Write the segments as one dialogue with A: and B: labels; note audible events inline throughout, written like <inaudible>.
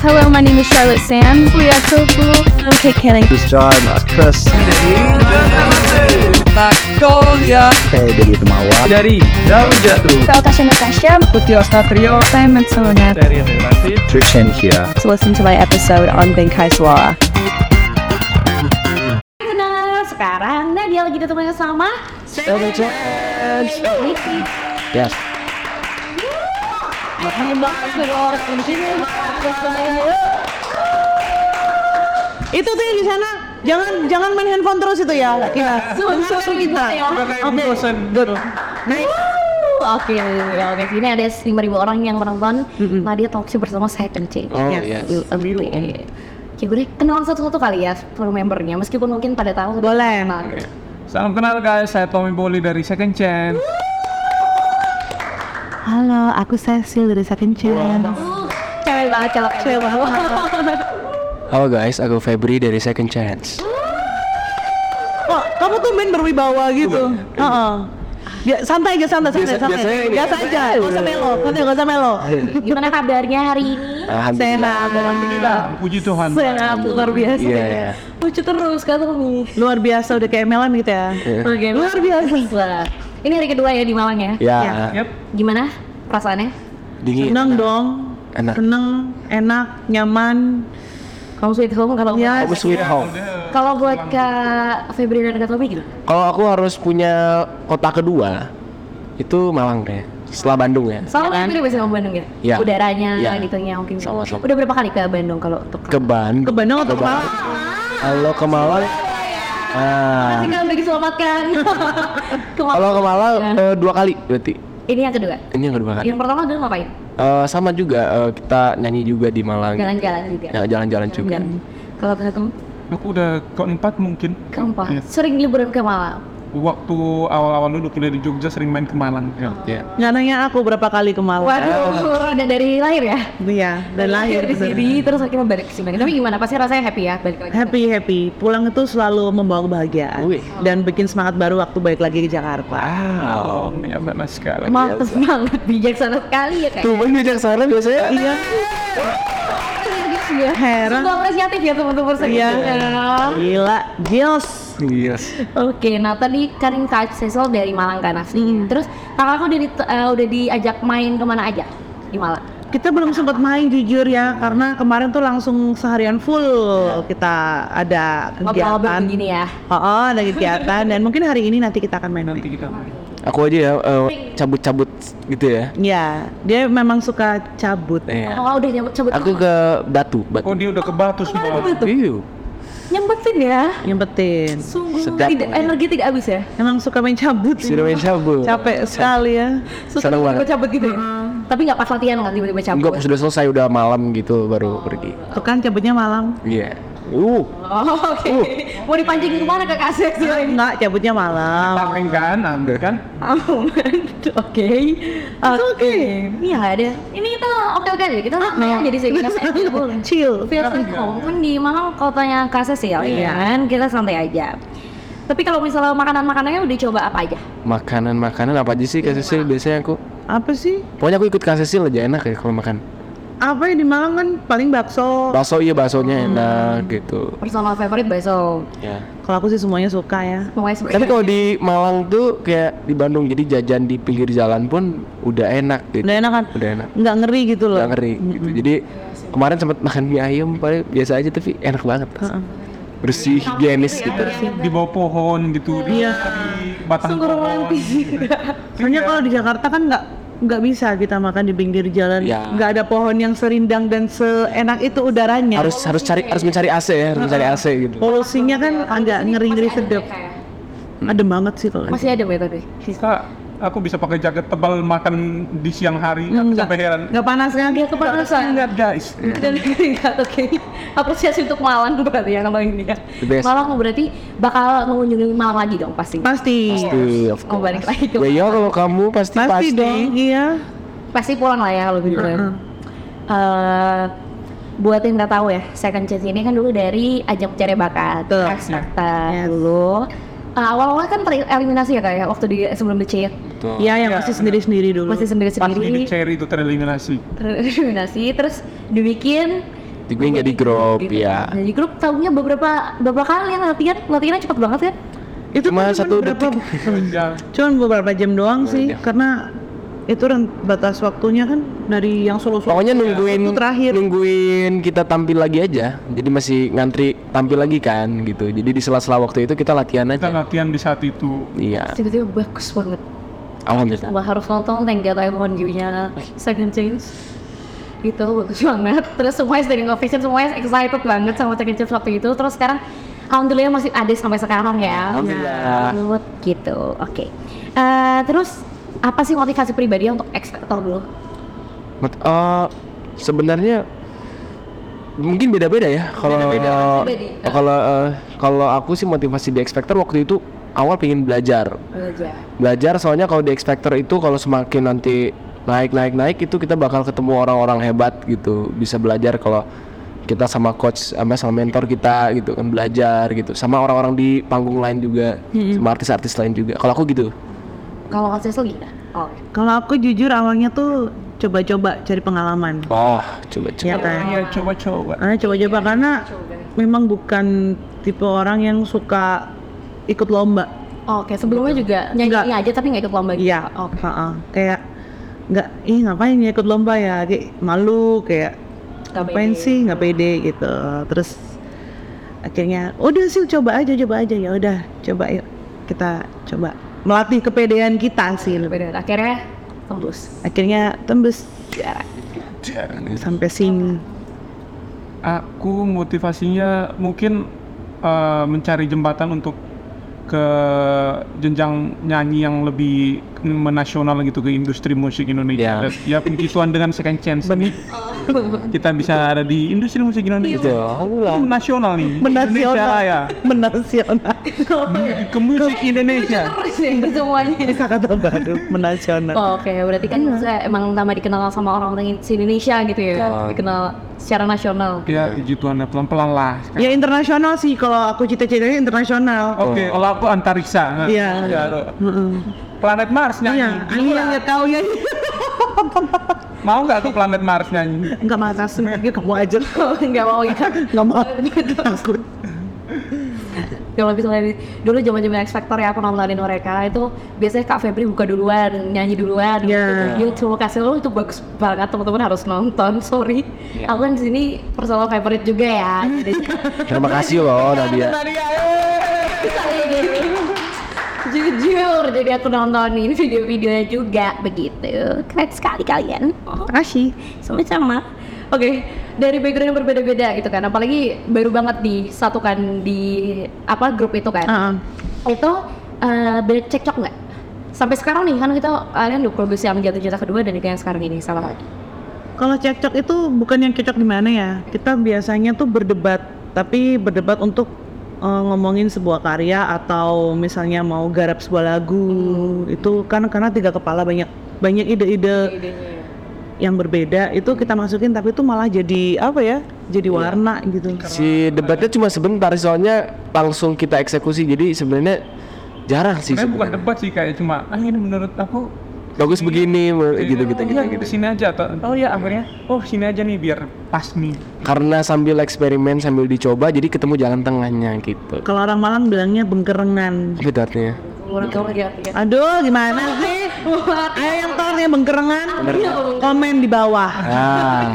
A: Hello, my name is Charlotte Sands. We are so cool. I'm Kate Canning.
B: This is John. That's Chris.
C: Magnolia
B: Hey, baby, to my wife.
C: dari daun jatuh
A: Natasha Natasha.
C: Putih Ostatrio
A: Simon Solonet.
C: dari Relasi
B: Christian here.
A: To listen to my episode on Bengkai Suara.
D: Nah, sekarang nah dia lagi ditemani sama Wiki.
B: Yes.
D: Makanya banget dari orang di sini.
E: Itu tuh yang di sana. Jangan jangan main handphone terus itu ya. Iya.
D: Susun kita ya. Oke.
E: Naik.
D: Oke, oke. Ini ada 5.000 orang yang menonton Nah, Nadia Talkshow bersama saya Kenci.
C: Oh yes
E: Yes.
D: Will and Ray. Iya. Oke, gue kenalan satu-satu kali ya per membernya, meskipun mungkin pada tahu.
E: Boleh.
D: Nah,
C: Salam kenal guys, saya Tommy Boli dari Second Chance
E: Halo, aku Cecil dari Second Chance.
D: uh, Cewek banget, cewek
E: Cewek
D: banget.
F: Halo guys, aku Febri dari Second Chance.
E: Kok kamu tuh main berwibawa gitu? Heeh. Bia- santai aja, santai, santai,
F: Biasa- biasanya
E: santai.
F: ini. ya.
E: Biasa aja, nggak usah melo, santai, nggak usah melo.
D: Gimana kabarnya hari ini?
F: Alhamdulillah.
E: Sehat,
C: Puji Tuhan
D: Sangat luar biasa.
F: Iya,
D: ya.
F: iya.
D: Lucu terus kan Tommy.
E: luar biasa udah kayak MLM gitu ya.
F: Iya.
D: Oke, luar biasa. Ini hari kedua ya di Malang ya.
F: Ya,
E: Ya.
C: Yep,
D: Gimana perasaannya?
F: dingin.
E: Seneng dong,
F: Enak.
E: seneng, enak, nyaman.
D: Kamu sweet home kalau
E: Ya,
F: Aku sweet home.
D: kalau buat Kak Febri dan Kak Tommy gitu.
F: Kalau aku harus punya kota kedua, itu Malang deh. Setelah Bandung ya.
D: Soalnya Febri udah biasa sama Bandung ya.
F: Iya.
D: Udaranya
F: Iya.
D: gitu ya mungkin.
F: Sama, sama.
D: Udah berapa kali ke Bandung kalau untuk
F: Ke Bandung.
E: ke Bandung atau ke Malang?
F: Kalau ke Malang, ah,
D: Kan udah diselamatkan. Kemar-
F: kalau ke Malang eh, dua kali berarti.
D: Ini yang kedua.
F: Ini yang kedua kali.
D: Yang pertama dulu ngapain?
F: Eh, sama juga eh, kita nyanyi juga di Malang.
D: Jalan-jalan juga.
F: Ya, jalan-jalan juga.
D: Jalan-jalan. Kalau Kak Tommy
C: aku udah keempat mungkin
D: keempat.
E: Iya.
C: Yes.
D: Sering liburan ke Malang.
C: Waktu awal-awal dulu kuliah di Jogja sering main ke Malang ya.
F: Ya.
E: Nggak nanya aku berapa kali ke Malang.
D: Waduh, ada dari lahir ya?
E: Iya, dan lahir
D: di
E: bener.
D: sini terus akhirnya balik ke sini. Tapi gimana? Pasti rasanya happy ya balik lagi.
E: Happy happy. Pulang itu selalu membawa kebahagiaan
F: Wih.
E: dan bikin semangat baru waktu balik lagi ke Jakarta.
C: Oh,
F: Wow.
C: ya benar sekali
D: Mantep banget, bijaksana sekali ya kayak.
F: Tuh, bijaksana biasanya.
E: Iya,
D: Ya.
E: Heran.
D: Sungguh apresiatif ya teman-teman saya.
E: Iya.
F: Gitu.
E: gila, gils.
C: Yes
D: Oke, nah tadi kan Kak Cecil dari Malang kan
F: Hmm.
D: aslinya. Terus kakakku udah, di- eh, udah diajak main kemana aja di Malang?
E: Kita belum sempat main jujur ya, karena kemarin tuh langsung seharian full kita ada
D: Ngobrol-ngobrol
E: kegiatan.
D: begini ya.
E: Oh, oh, ada kegiatan dan mungkin hari ini nanti kita akan main
C: Nanti
E: lagi.
C: kita main
F: Aku aja ya eh, cabut-cabut gitu ya.
E: Ya, dia memang suka cabut.
F: Iya.
D: Oh, udah nyebut sebut
F: Aku ke Batu,
C: Oh
F: Batu.
C: dia udah ke Batu semua
F: Iya.
D: nyempetin ya.
E: Nyempetin.
D: Sungguh
F: Sedap
D: tidak,
F: pokoknya.
D: energi tidak habis ya.
E: Emang suka main cabut.
F: Sudah main cabut.
E: Capek sekali ya.
D: Suka
F: Seneng banget.
D: cabut gitu ya. Tapi nggak pas latihan kan tiba-tiba cabut.
F: Hmm. Enggak, sudah selesai udah malam gitu baru pergi.
E: Tuh kan cabutnya malam.
F: Iya. Uh,
D: Oh, oke. Mau dipancing kemana ke Kak Cecil ini?
E: Enggak, cabutnya malam.
C: Tangan kanan kan
D: Aman, oke. Oke. Iya nggak ada. Ini kita oke oke aja. Kita
F: Ah,
D: santai
F: iya.
D: aja
E: Kan
D: di sini. Kita
F: <laughs>
D: santai
E: <laughs>
D: aja boleh.
E: Chill.
D: Feel free home kan di Malang kotanya Kases ya, iya. kan? Kita santai aja. Tapi kalau misalnya makanan-makanannya udah coba apa aja?
F: makanan-makanan apa aja sih Kak Cecil biasanya aku?
E: Apa sih?
F: Pokoknya aku ikut Kak Cecil aja enak ya kalau makan.
E: Apa yang di Malang kan paling bakso.
F: Bakso iya baksonya enak gitu.
D: Personal favorite bakso.
F: Ya.
E: Kalau aku sih semuanya suka ya.
D: Pokoknya sebagai
F: Tapi kalau di Malang tuh kayak di Bandung jadi jajan di pinggir jalan pun udah enak gitu.
E: Udah enak kan?
F: Udah enak.
E: Nggak ngeri gitu loh.
F: Gak ngeri gitu. Jadi kemarin sempat makan mie ayam paling biasa aja tapi enak banget. Bersih, higienis gitu.
C: Di bawah pohon gitu Di
E: Iya.
C: di batang
D: sungguh
C: pohon
D: romantis.
E: Soalnya kalau di Jakarta kan nggak nggak bisa kita makan di pinggir jalan.
F: Ya.
E: Nggak ada pohon yang serindang dan seenak itu udaranya.
F: Harus harus cari harus mencari AC ya, harus mencari AC gitu.
E: Polusinya kan agak ngeri-ngeri sedap. Adem banget sih kalau.
D: Masih ada ya tadi.
C: Suka aku bisa pakai jaket tebal makan di siang hari aku
E: Nggak-
C: sampai heran
E: Nggak panas kan?
D: Dia kepanasan.
C: Lihat guys
D: dan keringat oke apresiasi untuk Malang berarti ya kalau ini ya
F: The best.
D: Malang berarti bakal mengunjungi Malang lagi dong pasti
E: Pasti.
F: Pasti, Iya, of
D: Oh,
F: course.
D: balik lagi ke
F: Weyo kalau kamu pasti
E: Pasti, dong. Iya.
D: pasti pulang lah ya kalau gitu ya. Eh, buat yang nggak tahu ya second chance ini kan dulu dari ajang pencari bakat
E: Betul.
D: Aksakta
E: Yes.
D: dulu Eh, awal-awal kan tereliminasi ya kayak waktu di sebelum dicek
F: Betul.
E: Iya yang masih sendiri-sendiri dulu.
C: Pas di
D: masih sendiri-sendiri <laughs>
C: cherry itu tereliminasi
D: tereliminasi terus dibikin
F: Di gue nggak di grup ya.
D: Nah, di grup tahunya beberapa beberapa kali yang latihan, latihannya cepet banget kan?
E: Itu
F: Cuma
E: kan cuman
F: satu
E: berapa-
F: detik.
C: Ya,
E: Cuman beberapa jam doang
F: Oh,
E: sih,
F: iya.
E: karena itu rent- batas waktunya kan dari yang solo-solo.
F: Pokoknya
E: itu
F: nungguin
E: Iya, terakhir.
F: nungguin kita tampil lagi aja. Jadi masih ngantri tampil lagi kan gitu. Jadi di sela-sela waktu itu kita latihan
C: kita
F: aja.
C: latihan di saat itu.
F: Iya.
D: Tiba-tiba bagus banget.
F: Alhamdulillah.
D: Wah harus nonton Thank God I'm On You-nya Second Change gitu bagus banget terus semuanya standing ovation semuanya excited banget sama Second Change waktu itu terus sekarang Alhamdulillah masih ada sampai sekarang ya
F: Alhamdulillah.
D: Alhamdulillah gitu oke Eh, terus apa sih motivasi pribadi untuk ex Factor dulu
F: Mot- eh, sebenarnya mungkin beda-beda ya kalau kalau eh, kalau aku sih motivasi di X Factor waktu itu awal pengen belajar
D: belajar
F: belajar soalnya kalau di X Factor itu kalau semakin nanti naik naik naik itu kita bakal ketemu orang-orang hebat gitu bisa belajar kalau kita sama coach sama sama mentor kita gitu kan belajar gitu sama orang-orang di panggung lain juga sama artis-artis lain juga kalau aku gitu
D: kalau kasih lagi oh
E: Kalau aku jujur awalnya tuh coba-coba cari pengalaman.
F: oh coba coba
E: Iya kan?
C: Ya coba-coba.
E: Ah, coba-coba karena memang bukan tipe orang yang suka ikut lomba.
D: oke sebelumnya juga Gitu. nyanyi
E: Nggak.
D: aja tapi nggak ikut lomba gitu
E: Iya,
D: oke
E: ha-ha. kayak nggak, ih ngapain ya ikut lomba ya, kayak malu, kayak
D: Nggak
E: ngapain
D: pede.
E: sih nggak pede gitu. Terus akhirnya udah sih coba aja, coba aja ya udah, coba yuk kita coba melatih kepedean kita sih lebih.
D: benar akhirnya tembus
E: Akhirnya tembus
D: juara
E: sampai sini.
C: Aku motivasinya mungkin eh, mencari jembatan untuk ke jenjang nyanyi yang lebih menasional gitu ke industri musik Indonesia. Ya begituan dengan second chance ini kita bisa ada di industri musik Indonesia.
F: gitu. alhamdulillah
C: Nasional nih.
E: Menasional.
C: Indonesia Raya.
E: <laughs> Menasional.
C: Ke musik Indonesia.
D: terus nih semuanya
E: Ini kata baru menasional.
D: Oh, Oke, berarti kan saya emang tambah dikenal sama orang-orang di Indonesia gitu ya, dikenal secara nasional. <laughs>
C: Ya puji Tuhan ya, pelan-pelan lah.
E: Ya internasional sih kalau aku cita-citanya internasional.
C: Oke,
F: Oh.
C: kalau aku antariksa.
E: Iya.
C: Ya, Planet Mars
E: Iya,
C: nyanyi.
E: aku yang nggak tahu ya.
C: Mau nggak ke planet Mars
F: Iya.
C: nyanyi?
E: Enggak matas, ya kamu aja.
D: Enggak mau ya.
E: Enggak mau. Takut.
D: Kalau misalnya di- dulu zaman-zaman X Factor ya aku nontonin mereka itu biasanya Kak Febri buka duluan, nyanyi duluan.
E: Iya.
D: YouTube kasih lo itu bagus banget teman-teman harus nonton. <laughs> Sorry, aku kan di sini personal favorite juga ya. Jadi-
F: terima kasih loh Nadia
C: iya, eh.
D: Jujur, jadi aku nontonin video-videonya juga begitu. Keren sekali kalian.
E: Kasih.
D: sama-sama oke dari background yang berbeda-beda gitu kan apalagi baru banget disatukan di apa grup itu kan
E: Heeh.
D: itu eh beda cekcok nggak sampai sekarang nih kan kita kalian udah produksi yang jatuh cinta kedua dan juga yang sekarang ini salah lagi
E: Kalau cekcok itu bukan yang cocok di mana ya. Kita biasanya tuh berdebat, tapi berdebat untuk eh, ngomongin sebuah karya atau misalnya mau garap sebuah lagu. Itu kan karena tiga kepala banyak banyak ide-ide yang berbeda itu kita masukin tapi itu malah jadi apa ya? Jadi warna gitu.
F: si debatnya cuma sebentar soalnya langsung kita eksekusi jadi sebenarnya jarang sih
C: Sebenarnya bukan
F: sebenarnya
C: debat sih kayak cuma, ah ini menurut aku
F: bagus begini menurut- gitu gitu gitu,
C: Iya,
F: gitu.
C: sini aja atau oh ya akhirnya oh sini aja nih biar pas nih
F: karena sambil eksperimen sambil dicoba jadi ketemu jalan tengahnya gitu
E: Kalau orang Malang bilangnya bengkerengan.
F: apa itu artinya
D: orang tua lagi hati
E: Aduh, gimana sih? Ayo yang tahu yang bengkerengan, komen di bawah.
F: ah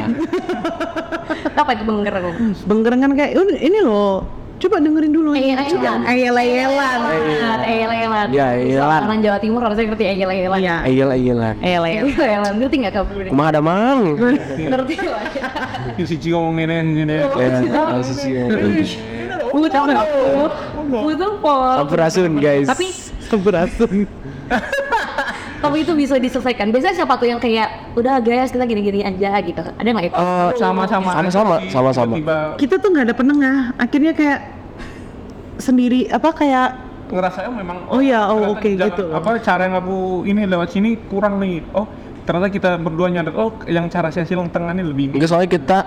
D: apa itu bengkerang
E: Bengkerengan kayak "Un- ini loh. Coba dengerin dulu.
D: Ayel-ayelan.
E: Ayel-ayelan.
D: Eyel-eyelan
F: Iya, eyel-eyelan.
D: Orang Jawa Timur harusnya ngerti eyel-eyelan
E: Iya.
F: ayel ayelan
E: Ayel-ayelan.
D: Eyel-eyelan, ngerti nggak
F: <laughs>
D: kamu?
F: kumah ada mang
D: Ngerti lah
E: Iya.
C: Iya, si Cici ngomongin ini ini
F: Ya, asisi ya.
D: Butuh aku Butuh pol
F: Ampurasun guys
D: Tapi
E: Berasung.
D: tapi itu bisa diselesaikan biasanya siapa tuh yang kayak udah guys kita gini-gini aja gitu ada nggak ya
F: Eh,
C: Oh, sama-sama
F: Sama-sama, sama-sama.
C: tiba
E: Kita tuh nggak ada penengah. Akhirnya kayak sendiri apa kayak
C: ngerasanya memang
E: Oh iya, oh,
C: ternyata
E: oke,
C: jalan-
E: gitu.
C: apa cara yang aku ini lewat sini kurang nih oh ternyata kita berdua nyadar oh yang cara saya silang tengah ini lebih
F: enggak soalnya kita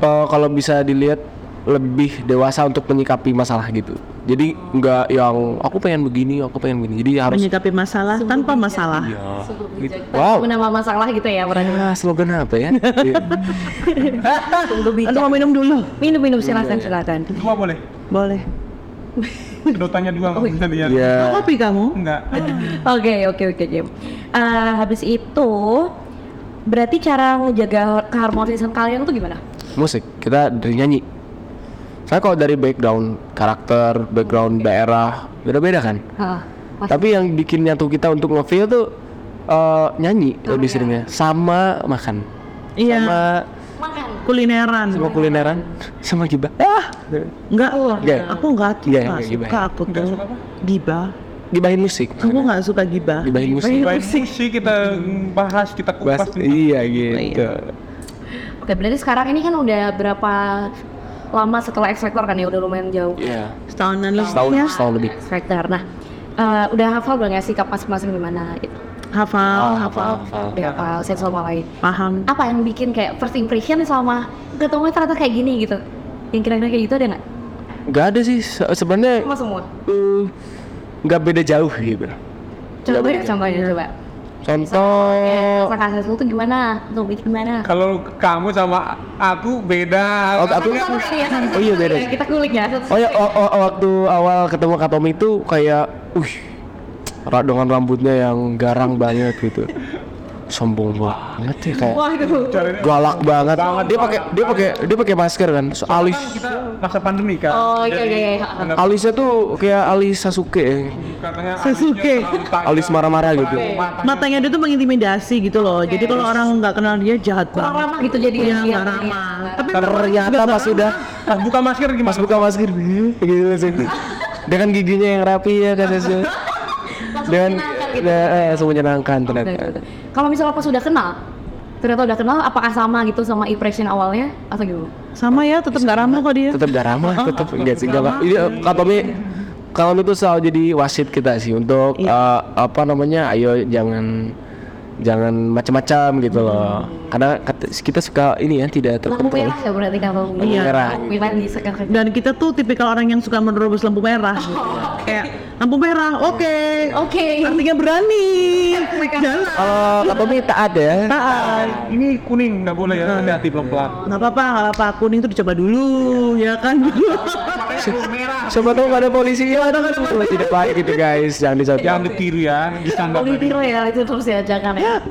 F: eh, kalau bisa dilihat lebih dewasa untuk menyikapi masalah gitu jadi nggak yang aku pengen begini aku pengen begini jadi harus Iya. Gitu.
E: menyikapi masalah tanpa masalah
D: Sungguh bijak.
F: Wow.
D: Menambah masalah gitu ya berarti.
F: ah, slogan apa ya Iya.
D: Sungguh
E: aduh
D: bijak.
E: mau minum dulu
D: Minum minum silakan silakan.
C: Dua boleh?
E: boleh
C: Sedotannya dua nggak bisa lihat.
F: Iya.
E: kopi kamu
C: Enggak.
D: Ah. Oke oke oke Jim. Eh, habis itu berarti cara ngejaga keharmonisan kalian tuh gimana?
F: musik kita dari nyanyi saya kalau dari background karakter background daerah beda-beda kan
D: Hah, Mas,
F: tapi yang bikin nyatu kita untuk ngefeel tuh eh, nyanyi lebih seringnya
E: ya?
F: sama makan
E: iya
F: sama
D: makan.
E: kulineran
F: sama kulineran sama gibah ah
E: Enggak,
D: Oh, iya.
F: Enggak.
E: aku enggak, enggak
F: Enggak, enggak gibah
E: suka
F: ya.
E: aku
C: Enggak
E: tuh
C: suka apa?
E: gibah.
F: gibahin musik
E: Aku enggak suka gibah.
F: gibahin musik
C: Baik musik kita bahas, kita kupas.
F: Bahas- iya gitu
D: Oke berarti sekarang ini kan udah berapa lama setelah X Factor kan ya udah lumayan jauh.
F: iya
E: Setahunan lebih
F: setahun
E: ya.
F: setahun lebih
D: X Factor. Nah eh, udah hafal belum ya sikap masing-masing gimana? Gitu.
E: Hafal,
F: Oh,
E: hafal,
F: hafal.
D: Udah hafal satu sama lain.
E: paham.
D: Apa yang bikin kayak first impression sama ketemunya ternyata kayak gini gitu? Yang kira-kira kayak gitu ada nggak?
F: nggak ada sih se- sebenarnya
D: Sama semua.
F: eh, nggak beda jauh gitu
D: Coba ya,
F: Iya.
D: contohnya coba.
E: ya.
F: contoh
D: Rasa kasih tuh gimana? Tuh bikin gimana?
C: Kalau kamu sama aku beda.
F: iya. Oh, aku-
D: Satu-satu kali ya, satu-satu
F: Oh iya,
D: kali
F: beda.
D: ya, Kita kulik ya. satu-satu.
F: Oh ya, o- o- waktu awal ketemu Katomi itu kayak, uh, dengan rambutnya yang garang banget gitu, sombong banget ya kayak
D: Wah, itu.
C: Caranya-
F: galak banget.
C: Banget,
F: Dia pakai dia pakai dia pakai masker kan, so, alis
C: Kan kita masa pandemi kan.
D: Oh, oke,
C: Jadi,
D: oke.
C: ada
F: alisnya tuh kayak alis Sasuke, ya.
C: katanya alisnya
E: Sasuke.
C: terlalu tajam,
F: alis marah-marah gitu.
C: matanya
E: Matanya dia tuh mengintimidasi gitu loh. Jadi kalau orang nggak kenal dia jahat banget.
D: Kurang ramah gitu jadi ya.
E: Iya,
D: dia.
E: nggak ramah. Tapi
F: Ternyata pas udah
C: Pas buka masker gimana?
F: pas buka masker <laughs> gitu langsung dengan giginya yang rapi ya kan Sasuke. Dengan
D: kan
F: eh, eh, langsung menyenangkan
D: Betul,
F: ternyata.
D: betul. gitu. Kalau misalnya pas udah kenal, ternyata udah kenal, apakah sama gitu sama impression awalnya atau gimana?
E: sama ya, tetap nggak ramah kok dia.
F: tetap gak ramah tetap enggak sih iya, enggak ini Katomi Katomi itu selalu jadi wasit kita sih untuk eh, apa namanya ayo jangan jangan macam-macam gitu loh karena kata- kita suka ini ya tidak
D: Lampu
F: terkontrol
D: merah ya berarti kalau
F: Lampu merah.
D: Lampu merah di sekitar.
E: Dan kita tuh tipikal orang yang suka menerobos lampu merah. Kayak lampu merah, oke.
D: Oke.
E: Artinya berani. Jalan.
F: kalau Katomi taat
E: Taat.
F: ya
C: Nah, Ini kuning nggak boleh ya. Hati-hati pelan-pelan.
E: Nggak apa-apa, nggak apa-apa. Kuning tuh dicoba dulu, ya kan?
F: siapa tahu nggak ada polisi ya ada kan tidak baik gitu guys jangan
C: Jangan
F: dicontoh
C: ditiru ya, disandar.
D: Boleh tiru ya itu terus ya jangan <laughs> ya.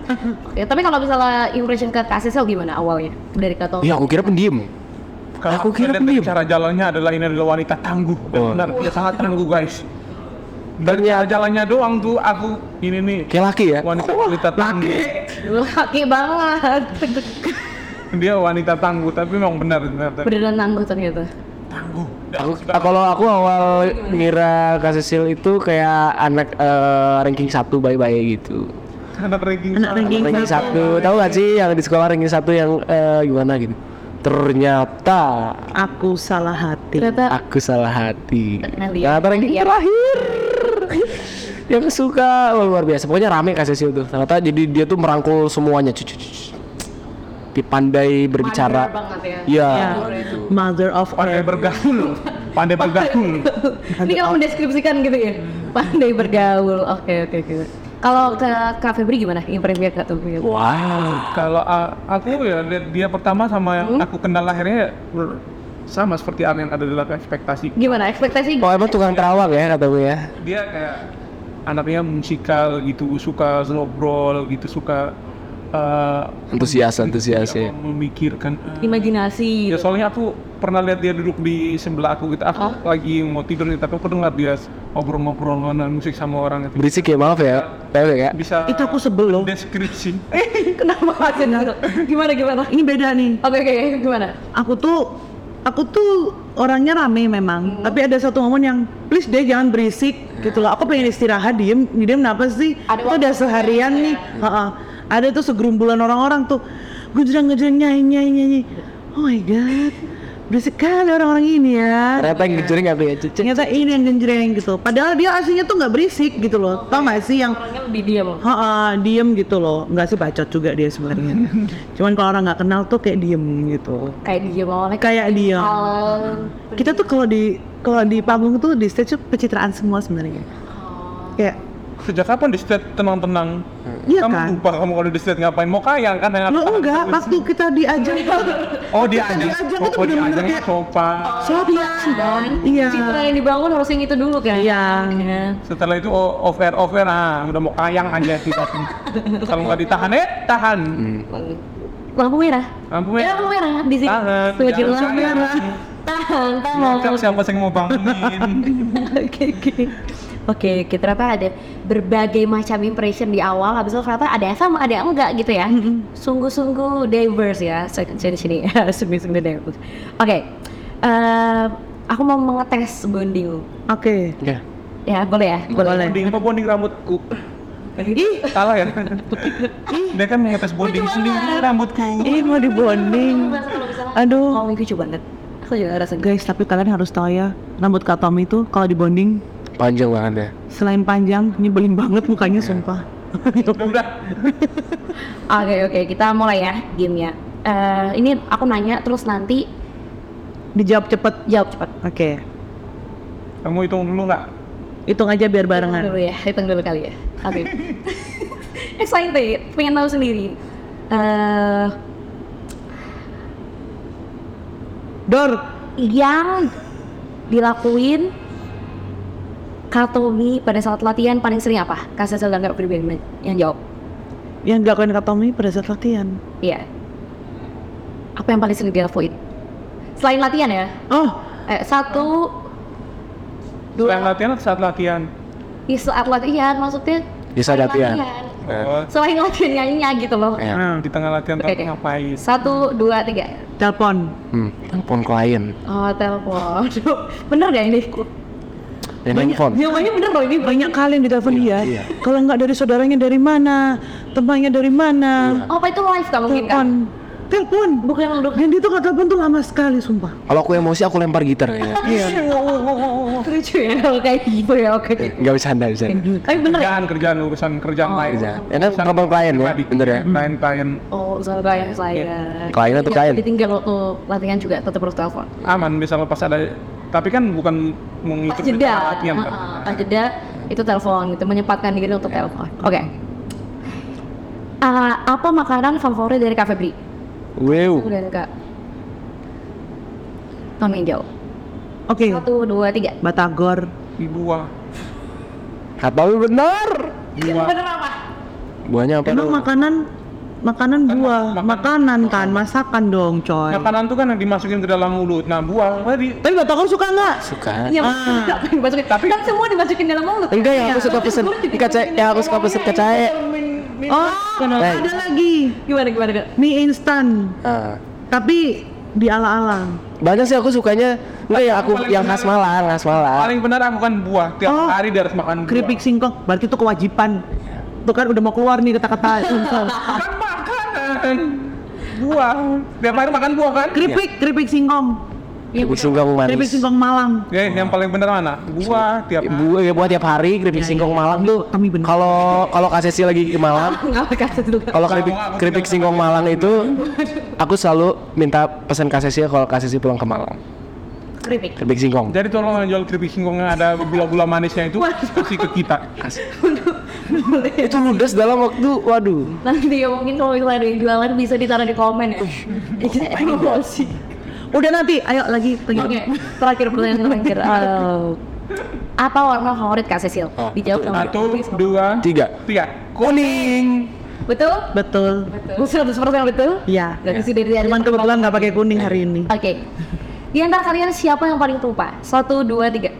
D: Oke, tapi kalau misalnya impression ke Kasisel gimana awalnya dari kata
F: iya aku kira pendiam
C: Kalau
F: Aku kira
C: lihat dari
F: pendiam.
C: cara jalannya adalah ini adalah wanita tangguh. Dan
F: Oh.
C: Benar, dia sangat tangguh guys. Dari cara jalannya doang tuh aku ini nih
F: kayak laki ya
C: wanita wanita tangguh.
D: laki banget <laughs>
C: Dia wanita tangguh tapi memang benar benar. benar.
D: beneran gitu. nangguh ternyata
C: Tangguh.
F: aku ah, kalau aku awal ngira Kak Cecil itu kayak anak eh, ranking satu bye-bye gitu
C: Anak ranking.
E: Anak
C: satu.
E: ranking
F: ranking
E: satu.
F: satu tahu gak sih yang di sekolah ranking satu yang eh, gimana gitu ternyata
E: Aku salah hati.
D: ternyata Iya.
F: aku salah hati
D: Kenali.
F: ternyata ranking Ah, terakhir yang suka wah, luar biasa pokoknya rame kasih sih tuh ternyata jadi dia tuh merangkul semuanya cucu pandai
D: Mandor
F: berbicara
D: banget ya
E: Ya.
F: ya
E: Mother of
C: Pandai
E: all.
C: bergaul. Pandai bergaul.
D: <laughs> ini kalau mendeskripsikan gitu ya pandai bergaul oke oke oke kalau ke Kak Febri gimana impressionnya Kak Febri
F: wow
C: Kalau a- aku ya lihat dia pertama sama yang aku kenal lahirnya ya, ber- sama seperti yang ada dalam ekspektasi
D: gimana ekspektasi
F: oh emang tukang terawang ya kata gue ya
C: dia kayak anaknya musikal gitu suka ngobrol gitu suka eh,
F: antusias ya. antusiasnya
C: memikirkan
D: imajinasi
C: ya soalnya aku pernah lihat dia duduk di sebelah aku gitu aku lagi mau tidur nih tapi aku dengar dia ngobrol-ngobrol ngobrol musik sama orang itu
F: berisik ya maaf ya PW ya
C: bisa
E: Itu aku sebel loh.
C: deskripsi
D: kenapa Kak Cil? gimana gimana
E: Ini beda nih.
D: oke oke gimana
E: aku tuh aku tuh orangnya rame memang tapi ada satu momen yang please deh jangan berisik gitu loh aku pengen istirahat diem diem kenapa sih
D: Ada
E: itu udah seharian nih Ha-ha. ada tuh segerumbulan orang-orang tuh gejreng gejreng nyanyi nyanyi nyanyi oh my god berisik kali orang-orang ini ya
F: ternyata yang kecil nggak kelihatan Cek.
E: ternyata ini yang genjreng gitu padahal dia aslinya tuh nggak berisik gitu loh tau gak sih yang
D: orangnya lebih diam loh.
E: ha diem gitu loh nggak sih bacot juga dia sebenarnya cuman kalau orang nggak kenal tuh kayak diem gitu
D: kayak diam awalnya
E: kayak diem
D: Oh.
E: kita tuh kalau di kalau di panggung tuh di stage tuh pencitraan semua sebenarnya kayak
C: Sejak kapan di state tenang-tenang?
E: Iya
C: kamu
E: kan?
C: lupa kamu kalau di state ngapain? Mau kaya kan? Yang
E: lo
C: aku-
E: enggak waktu kita diajak
C: Oh dia
E: Kita
C: ajang,
E: diajak
C: oh,
E: itu
C: oh, dia
E: bener-bener
C: ajang
E: kayak-
C: sopan.
E: sopan iya
D: citra yang dibangun harus yang itu dulu kan
E: Iya.
D: Iya.
C: Setelah itu oh, off air off air ah udah mau kayang aja kita. Kalau nggak ditahan eh tahan.
D: lampu merah
C: Lampu
D: Eh,
C: merah.
D: lampu merah di
E: Ya,
D: sini
C: Tahan.
D: Tuh, jadi
C: Jangan sayang.
D: lampu merah tahan tahan
C: Siapa siapa sih yang mau
E: <laughs>
C: bangunin?
D: oke oke oke oke ternyata ada berbagai macam impression di awal habis itu ternyata ada yang sama ada yang enggak gitu ya sungguh-sungguh diverse ya sini sini <laughs> sungguh-sungguh diverse oke eh, aku mau mengetes bonding
E: oke
F: Ya.
D: ya boleh ya boleh
C: Bonding apa bonding rambutku? Ih, salah
E: <laughs>
C: ya. Dia kan ngetes bonding sendiri
E: <laughs>
C: rambutku.
E: ini mau dibonding aduh
D: oh lucu banget aku juga rasa
E: guys tapi kalian harus tahu ya rambut Kak Tommy itu kalau dibonding
F: panjang banget ya
E: selain panjang nyebelin banget mukanya sumpah
C: Udah, udah.
D: Oke oke kita mulai ya gamenya. Eh ini aku nanya terus nanti
E: dijawab cepet
D: jawab cepat.
E: oke
C: Kamu hitung dulu nggak?
E: hitung aja biar
D: Hitung
E: barengan
D: dulu ya, hitung dulu kali ya. Oke. Excited, pengen tahu sendiri. Eh
E: dor
D: yang dilakuin Katomi pada saat latihan paling sering apa? Kasih hasil nggak pribadi yang jawab.
E: yang dilakukan Kak Tommy pada saat latihan
D: Iya. Apa yang paling sering dilakuin? Selain latihan ya.
E: oh
D: Eh, satu
C: Selain latihan atau saat latihan?
D: di saat latihan maksudnya
F: di saat latihan
C: Oh,
D: selain latihan nyanyinya gitu loh
F: ya
C: Nah, di tengah latihan
D: Oke, ya?
C: tapi
D: oke.
C: ngapain?
D: satu dua tiga
E: telepon
D: ya.
F: hmm. telepon klien
D: oh telepon <laughs> Aduh, bener gak ini
F: dan handphone
D: jawabannya bener loh ini
E: Ya, banyak kali yang ditelepon dia
F: iya.
E: kalau nggak dari saudaranya dari mana temannya dari mana
D: oh apa itu live kan mungkin kan
E: telepon telepon Iya. bukan yang dia tuh nggak telepon tuh lama sekali sumpah
F: kalau aku emosi aku lempar gitar kayaknya
E: Iya.
D: lucu ya kalau kayak gitu ya oke
F: nggak bisa anda bisa
D: tapi bener ya
C: Kerjaan kerjaan urusan kerjaan lain.
D: iya.
F: bisa ya kan telepon klien ya bener ya
C: Klien klien
D: oh salah yang saya
F: Iya. Klien atau klien?
D: ditinggal waktu latihan juga tetap harus telepon
C: aman bisa lepas ada tapi kan bukan
D: pas
C: mengikuti
D: jeda
C: latihan kan.
D: Heeh, pas jeda itu telepon gitu menyempatkan diri untuk
F: Iya.
D: telepon oke Ah, apa makanan favorit dari Cafe Bri?
F: wow
D: Udah kak Tommy jauh
E: oke
F: Iya.
D: Satu, dua, tiga
E: batagor
C: Ibu wah.
F: kata bener
C: Buah.
D: Iya, Bener apa?
F: buahnya apa
E: emang
F: dong
E: makanan makanan buah
C: makan-
E: makanan kan masakan dong coy
C: Makanan tuh kan yang dimasukin ke dalam mulut. Nah, buah tadi
E: tapi batagor suka nggak
F: suka
D: Iya, <laughs> nggak pengen masukin Tapi kan semua dimasukin dalam mulut
F: enggak yang aku suka pesen kacang yang aku suka pesen kacang
E: oh
F: Baik.
E: ada lagi
D: Gimana, gimana, gimana?
E: mie instan tapi di ala-ala
F: Ah. banyak sih aku sukanya enggak yang aku yang khas Malang khas Malang
C: paling benar aku kan buah. Tiap
E: Oh.
C: hari dia harus makan buah.
E: keripik singkong berarti itu kewajiban itu kan udah mau keluar nih kata-kata <laughs>
C: Kan makanan. Buah. Tiap hari makan buah kan?
E: keripik keripik singkong
F: Ya.
D: Iya,
F: keripik singkong
E: keripik
F: manis
E: singkong Malang
C: Oke, yang paling benar mana? Buah tiap
F: Ya, buah ya buah tiap hari keripik singkong Malang tuh
E: Kami bener.
F: kalau kalau KCC lagi ke Malang
E: <laughs>
D: Nggak kasih dulu kan
F: kalau keripik
C: Kalau aku
F: keripik
C: tinggal
F: singkong Malang itu aku selalu minta pesan KCC kalau KCC pulang ke Malang
D: Keripik
F: keripik singkong
C: Jadi tolong yang jual keripik singkong yang ada gula-gula manisnya itu kasih ke kita.
F: itu ludes dalam waktu waduh
D: Nanti ya mungkin kalau misalnya ada yang jualan bisa ditaruh di komen ya <laughs> Iya, emosi
E: udah nanti ayo lagi lagi
D: Oke, terakhir pertanyaan
E: <laughs>
D: terakhir Eh, Apa warna favorit Kak Cecil?
F: Oh,
D: Dijawab dong
C: Satu, dua,
F: tiga
C: tiga. Kuning.
D: Betul?
E: betul
D: Betul, 100% betul?
E: ya
D: Gak kasih dari dari
E: cuman kebetulan nggak pakai kuning hari ini
D: Oke. Di antara kalian siapa yang paling lupa? Satu, dua, tiga.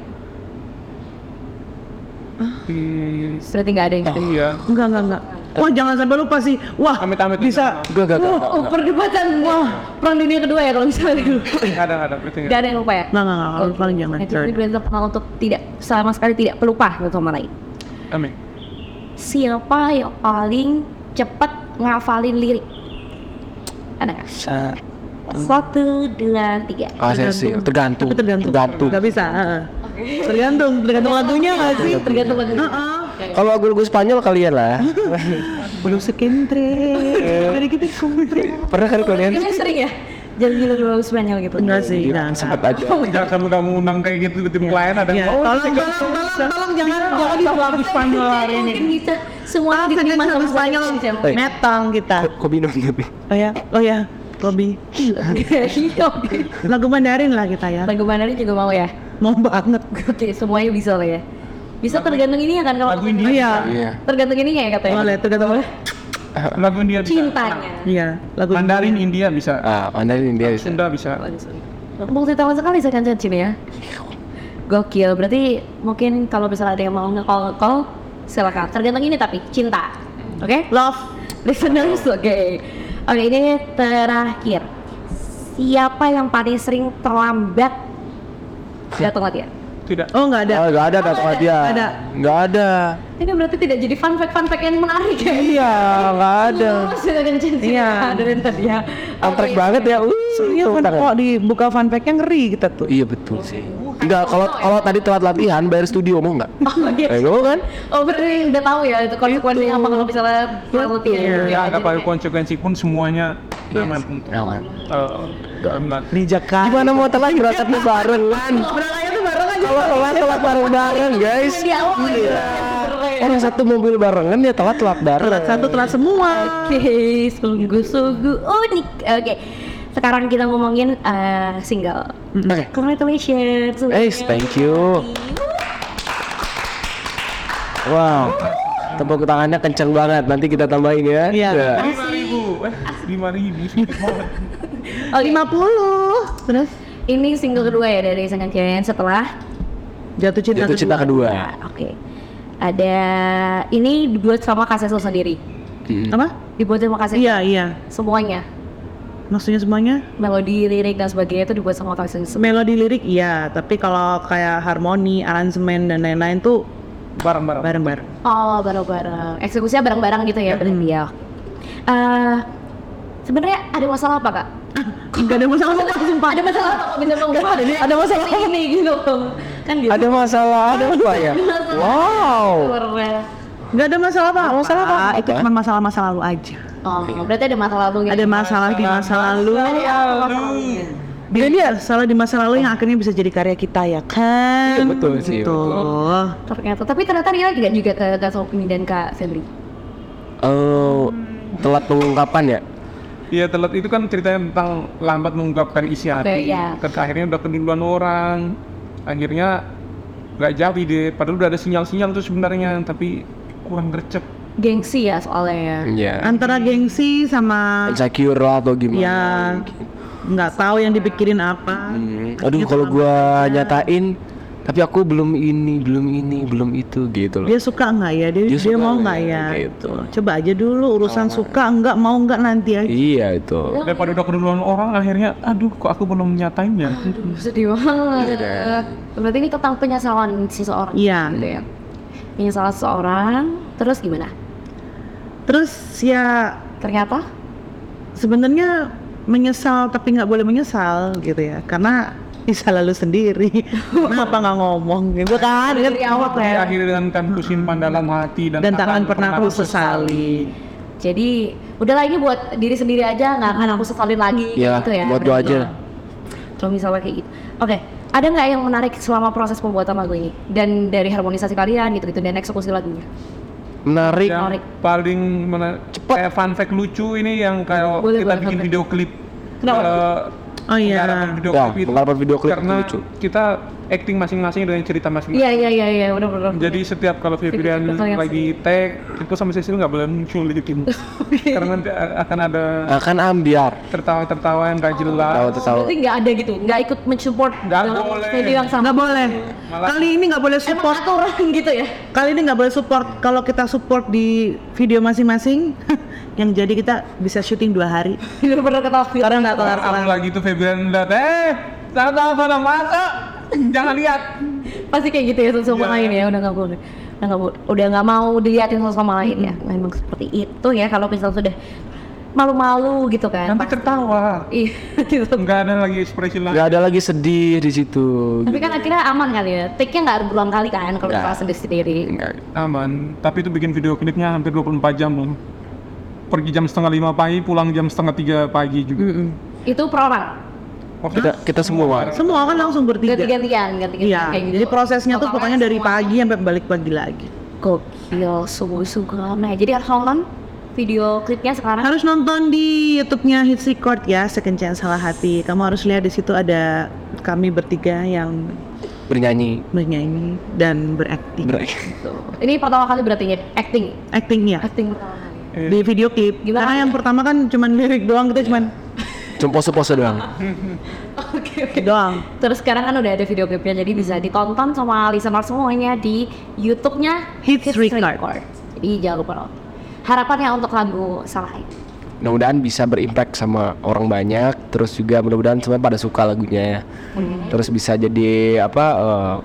C: Di-
D: Berarti nggak ada yang oh.
C: Iya.
E: enggak enggak enggak wah jangan sampai lupa sih wah
C: Amit-amit.
E: bisa
F: gak gak gak
D: Oh, perdebatan wah perang dunia kedua ya kalau misalnya dulu.
E: Iya.
C: Kadang-kadang itu
D: Gak ada yang lupa ya.
E: nggak nggak nggak
D: Oke.
E: paling jangan
D: Jadi
E: Sorry.
D: benar-benar pernah untuk tidak sama sekali tidak pelupa satu sama lain.
C: Amin.
D: Siapa yang paling cepat ngafalin lirik? Ada nggak?
F: Sa-
E: Hmm.
D: Satu, dua, tiga.
F: ACC tergantung
E: Tapi tergantung.
F: tergantung.
E: Gak bisa. heeh. Tergantung, tergantung lagunya nggak sih?
D: Tergantung lagunya.
E: Heeh.
F: Kalau lagu-lagu Spanyol kalian
E: <laughs>
F: lah.
E: Belum sekendre. Dari kita kumbre.
F: Pernah kan kalian?
D: Kalian sering ya? Jangan bilang lagu Spanyol gitu.
E: Enggak sih, enggak.
F: Sempat Iya, aja.
C: Jangan sampai kamu undang kayak gitu ke tim
D: Iya.
C: klien ada
E: Ya,
C: yang oh,
E: tolong, tolong, tolong, tolong jangan jangan di lagu Spanyol hari ini.
D: Mungkin bisa semua diterima sama Spanyol.
F: Eh.
E: Metong kita.
F: Kok kok minum tapi.
E: Oh ya, oh ya, Kobi.
D: Iya, oke.
E: Lagu Mandarin lah kita ya.
D: Lagu Mandarin juga mau ya?
E: Mau banget.
D: Oke, semuanya bisa lah ya. Bisa tergantung ini ya kan kalau
C: lagu India.
E: Iya.
F: Iya.
D: tergantung ini ya katanya.
E: Boleh, tergantung boleh.
C: lagu India bisa.
D: Cintanya.
E: Iya, lagu
C: Mandarin India bisa.
F: Ah, Mandarin dia bisa.
C: Sunda bisa.
D: Iya, Multi tahun sekali saya kancan sini ya. Gokil. Berarti mungkin kalau misalnya ada yang mau nge-call nge-call silakan. Tergantung ini tapi cinta. Oke?
E: Love.
D: Listeners, oke. Oke, ini terakhir. Siapa yang paling sering terlambat datang latihan?
C: Tidak.
E: Oh, nggak ada.
F: Ah, nggak ada kata dia.
E: Ada.
F: Nggak ada.
D: Ini berarti tidak jadi fun fact fun fact yang menarik ya.
F: Iya, nggak ada.
D: Lurus ya kancan sini.
E: Iya.
D: Ada yang tadi ya.
F: Antrek banget ya. Uh,
E: Iya,
F: tepuk
E: kan
F: tangan.
E: kok dibuka fanpack-nya ngeri kita tuh.
F: Iya betul sih. Enggak kalau kalau tadi telat latihan bayar studio mau
E: <laughs>
F: nggak?
D: Oh, oke.
F: Eh, ngomong kan?
D: Oh berarti udah tahu ya itu konsekuensinya apa kalau misalnya penalti ya.
C: Ya,
D: Iya,
C: nggak pakai konsekuensi pun semuanya aman untuk
F: Aman.
C: eh, dalam-
E: Ninja Kai.
F: Gimana mau telat gerakannya bareng kan?
E: Berlayar tuh bareng aja. gitu.
F: Kalau telat telat bareng bareng guys. Iya.
D: Di
E: Iya, oh,
D: awal ya.
F: Orang satu mobil barengan ya telat telat
E: Telat
F: bareng.
E: Iya. satu, telat semua.
D: Oke, sungguh-sungguh unik. Oke, sekarang kita ngomongin eh, single.
F: Oke.
D: Congratulations.
F: Hey, thank you. Wow. Tepuk tangannya kenceng banget. Nanti kita tambahin ya.
E: Iya.
F: Ya.
C: lima ribu, eh lima ribu.
D: Oke,
E: 50. Terus
D: ini single kedua ya dari Sangkan Kian setelah.
E: jatuh cinta
F: Jatuh cinta
E: kedua.
F: kedua.
D: Nah, Oke, ada ini dibuat sama Kaseso sendiri.
E: Apa?
D: Dibuat sama Kaseso.
E: Iya, iya.
D: Semuanya,
E: Maksudnya semuanya
D: melodi, lirik dan sebagainya itu dibuat sama Kaseso.
E: melodi lirik iya, tapi kalau kayak harmoni, aransemen dan lain-lain tuh
C: Barang-barang.
E: bareng-bareng.
D: Oh, bareng-bareng. Eksekusinya bareng-bareng gitu ya berarti ya.
E: iya.
D: Eh, sebenarnya ada masalah apa,
E: <laughs>
D: Kak?
E: Gak ada masalah apa sumpah.
D: Ada masalah apa kok bisa mengubah? Ada masalah apa ini gitu. Kan gitu.
F: Ada masalah ada apa ya? Wow.
D: Keren.
E: Gak ada masalah apa? Masalah
F: apa?
E: Itu cuma masalah-masa lalu aja.
D: Oh, berarti ada masalah lalu gitu.
E: Iya. Ada masalah di masa lalu. Ini salah di masa lalu yang akhirnya bisa jadi karya kita ya kan?
F: Iya, betul sih,
E: Gitu.
D: Ternyata, tapi ternyata Nila juga juga ke Kak Sopini dan Kak Febri.
F: Eh, telat pengungkapan ya?
C: Iya telat itu kan ceritanya tentang lambat mengungkapkan isi hati.
D: iya.
C: Ke akhirnya udah keduluan orang, akhirnya nggak jadi deh. Padahal udah ada sinyal-sinyal tuh sebenarnya, tapi kurang gercep.
D: Gengsi ya soalnya ya.
F: Iya.
E: Antara gengsi sama
F: Insecure lah atau gimana?
E: ya nggak tahu yang dipikirin apa.
F: gitu. Hmm, Aduh kalau gua nyatain tapi aku belum ini, belum ini, belum itu gitu loh.
E: Dia suka nggak ya? Dia,
F: Dia
E: dia,
F: suka
E: mau
F: nggak
E: nggak
F: ya?
E: ya?
F: Gitu.
E: Coba aja dulu urusan suka nggak mau nggak nanti ya. aja.
F: Iya itu.
C: Daripada udah keduluan orang, akhirnya aduh kok aku belum nyatain ya.
D: Aduh, sedih banget. Berarti ini tentang penyesalan seseorang.
E: Iya.
D: Gitu ya. Penyesalan seseorang, terus gimana?
E: Terus ya
D: Ternyata
E: sebenarnya menyesal tapi nggak boleh menyesal gitu ya karena bisa lalu
D: <laughs>
E: sendiri kenapa nggak ngomong gitu kan
D: dari awal tuh ya.
C: Akhirnya dengan kan kusimpan dalam hati dan,
E: dan tangan pernah aku sesali
D: Jadi udahlah ini buat diri sendiri aja nggak akan aku sesalin lagi
F: Ya,
D: gitu ya.
F: buat gua aja.
D: Kalau misalnya kayak gitu. Oke, ada nggak yang menarik selama proses pembuatan lagu ini dan dari harmonisasi kalian gitu-gitu dan eksekusi lagunya?
F: Menarik.
C: Yang
D: Tarik.
C: ya. paling mena- kayak fun fact lucu ini yang kayak
D: Boleh,
C: kita
D: boleh,
C: bikin
D: fun fact.
C: video klip.
D: Kenapa?
C: Eh,
E: oh
C: penggarapan
E: iya
C: video
F: Ya,
C: klip itu.
F: penggarapan video klip itu
C: karena
F: lucu.
C: kita acting masing-masing dengan cerita masing-masing.
D: Iya iya iya iya udah benar.
C: Jadi setiap kalau Febrian
D: Betul, yang
C: lagi tag itu sama Cecil nggak boleh muncul di tim. Karena nanti a- akan ada
F: Akan Eh, kan ambiar.
C: tertawa-tertawa yang gak
F: Tahu
C: jelas.
F: tahu.
D: berarti nggak ada gitu, nggak ikut mensupport
C: Nggak
D: dalam
C: boleh.
D: video yang sama. <laughs>
E: nggak boleh kali ini nggak boleh
D: Emang
E: support
D: aturan gitu ya.
E: kali ini nggak boleh support kalau kita support di video masing-masing <laughs> yang jadi kita bisa syuting dua hari
D: Bener benar kata Fir.
E: karena nggak kelar
C: Aku lagi tuh Febrian lihat, eh, sana sana masa, <laughs> jangan lihat.
D: Pasti kayak gitu ya satu
C: Iya.
D: sama lain ya, udah nggak boleh. Udah nggak boleh- udah nggak mau diliatin satu sama lain ya. Memang seperti itu ya kalau misal sudah malu-malu gitu kan.
C: nanti
D: Pas-
C: tertawa
D: Iya, <laughs> gitu.
C: nggak ada lagi ekspresi lain
F: nggak ada lagi sedih di situ
D: Tapi kan akhirnya aman kali ya. Take-nya nggak berulang kali kan kalau
F: Nggak.
D: kita sendiri sendiri.
F: Nggak-
C: aman tapi itu bikin video klipnya hampir 24 jam loh pergi jam setengah lima pagi pulang jam setengah tiga pagi juga
D: Itu per orang.
C: Waktu
F: kita kita semua
E: Semua kan langsung bertiga.
D: Ganti-gantian, ganti-gantian
E: Iya.
D: kayak gitu.
E: Jadi prosesnya tuh
D: Totalnya
E: pokoknya dari
D: semua.
E: pagi sampai balik pagi lagi.
D: Gokil, sungguh-sungguh lama ya. Jadi harus nonton video klipnya sekarang.
E: Harus nonton di YouTube-nya Hits Record ya, Second Chance Salah Hati. Kamu harus lihat di situ ada kami bertiga yang
F: bernyanyi
E: bernyanyi dan berakting.
F: Ber-
D: Ini pertama kali berarti ya, acting.
E: Actingnya
D: Acting pertama kali.
E: di video klip.
D: Gimana?
E: Karena yang pertama kan cuman lirik doang, kita cuman
F: cuma pose-pose doang
D: Oke, oke.
E: doang.
D: Terus sekarang kan udah ada video klipnya, jadi bisa ditonton sama listener semuanya di YouTube-nya
E: Hits Record.
D: Jadi jangan lupa nonton. Harapannya untuk lagu Salah Hati.
F: mudah-mudahan bisa berimpact sama orang banyak terus juga mudah-mudahan semua pada suka lagunya ya terus bisa jadi apa eh,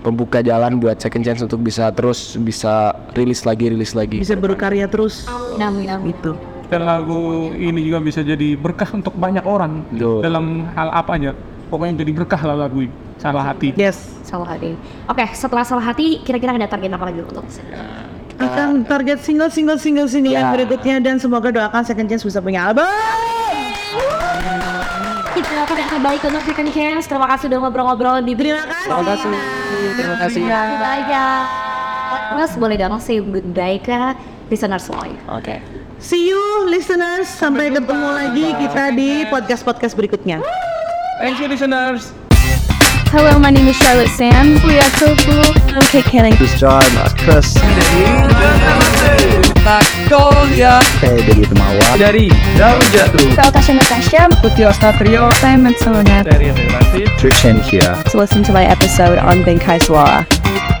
F: pembuka jalan buat second chance untuk bisa terus bisa rilis lagi rilis lagi
E: Bisa berkarya terus
D: Amin, amin.
E: gitu.
C: dan lagu ini juga bisa jadi berkah untuk banyak orang
F: Betul.
C: dalam hal apa aja pokoknya jadi berkah lah lagu ini. salah hati
E: Yes.
D: Salah Hati. Oke, setelah Salah Hati, kira-kira ada target apa lagi untuk listener?
E: akan target single single single single yang
F: Ya.
E: berikutnya dan semoga doakan second chance bisa punya album
D: Kita lakukan yang terbaik untuk Second Chance. Terima kasih sudah ngobrol-ngobrol di
E: terima kasih
F: terima kasih terima kasih
D: banyak. Mas boleh dong say good day ke listener semuanya.
F: oke
E: see you listeners sampai ketemu lagi kita di podcast podcast berikutnya
C: thank you listeners
A: Hello, my name is Charlotte Sands. We are so cool. I'm Kate Canning.
B: This time, Mas Chris. Saya dari Temawa. Dari Daun Jatuh.
A: Natasha Natasha. Simon Sonat.
B: Trishan here.
G: to listen to my episode on Benkai Suara.